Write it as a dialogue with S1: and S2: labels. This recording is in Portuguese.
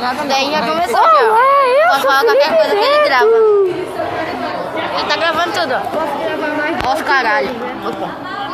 S1: Já Daí já começou.
S2: Não é
S1: Pode
S2: isso,
S1: falar qualquer coisa que ele grava. Ele tá gravando tudo.
S2: Posso gravar mais?
S1: Ó os caralho. Opa.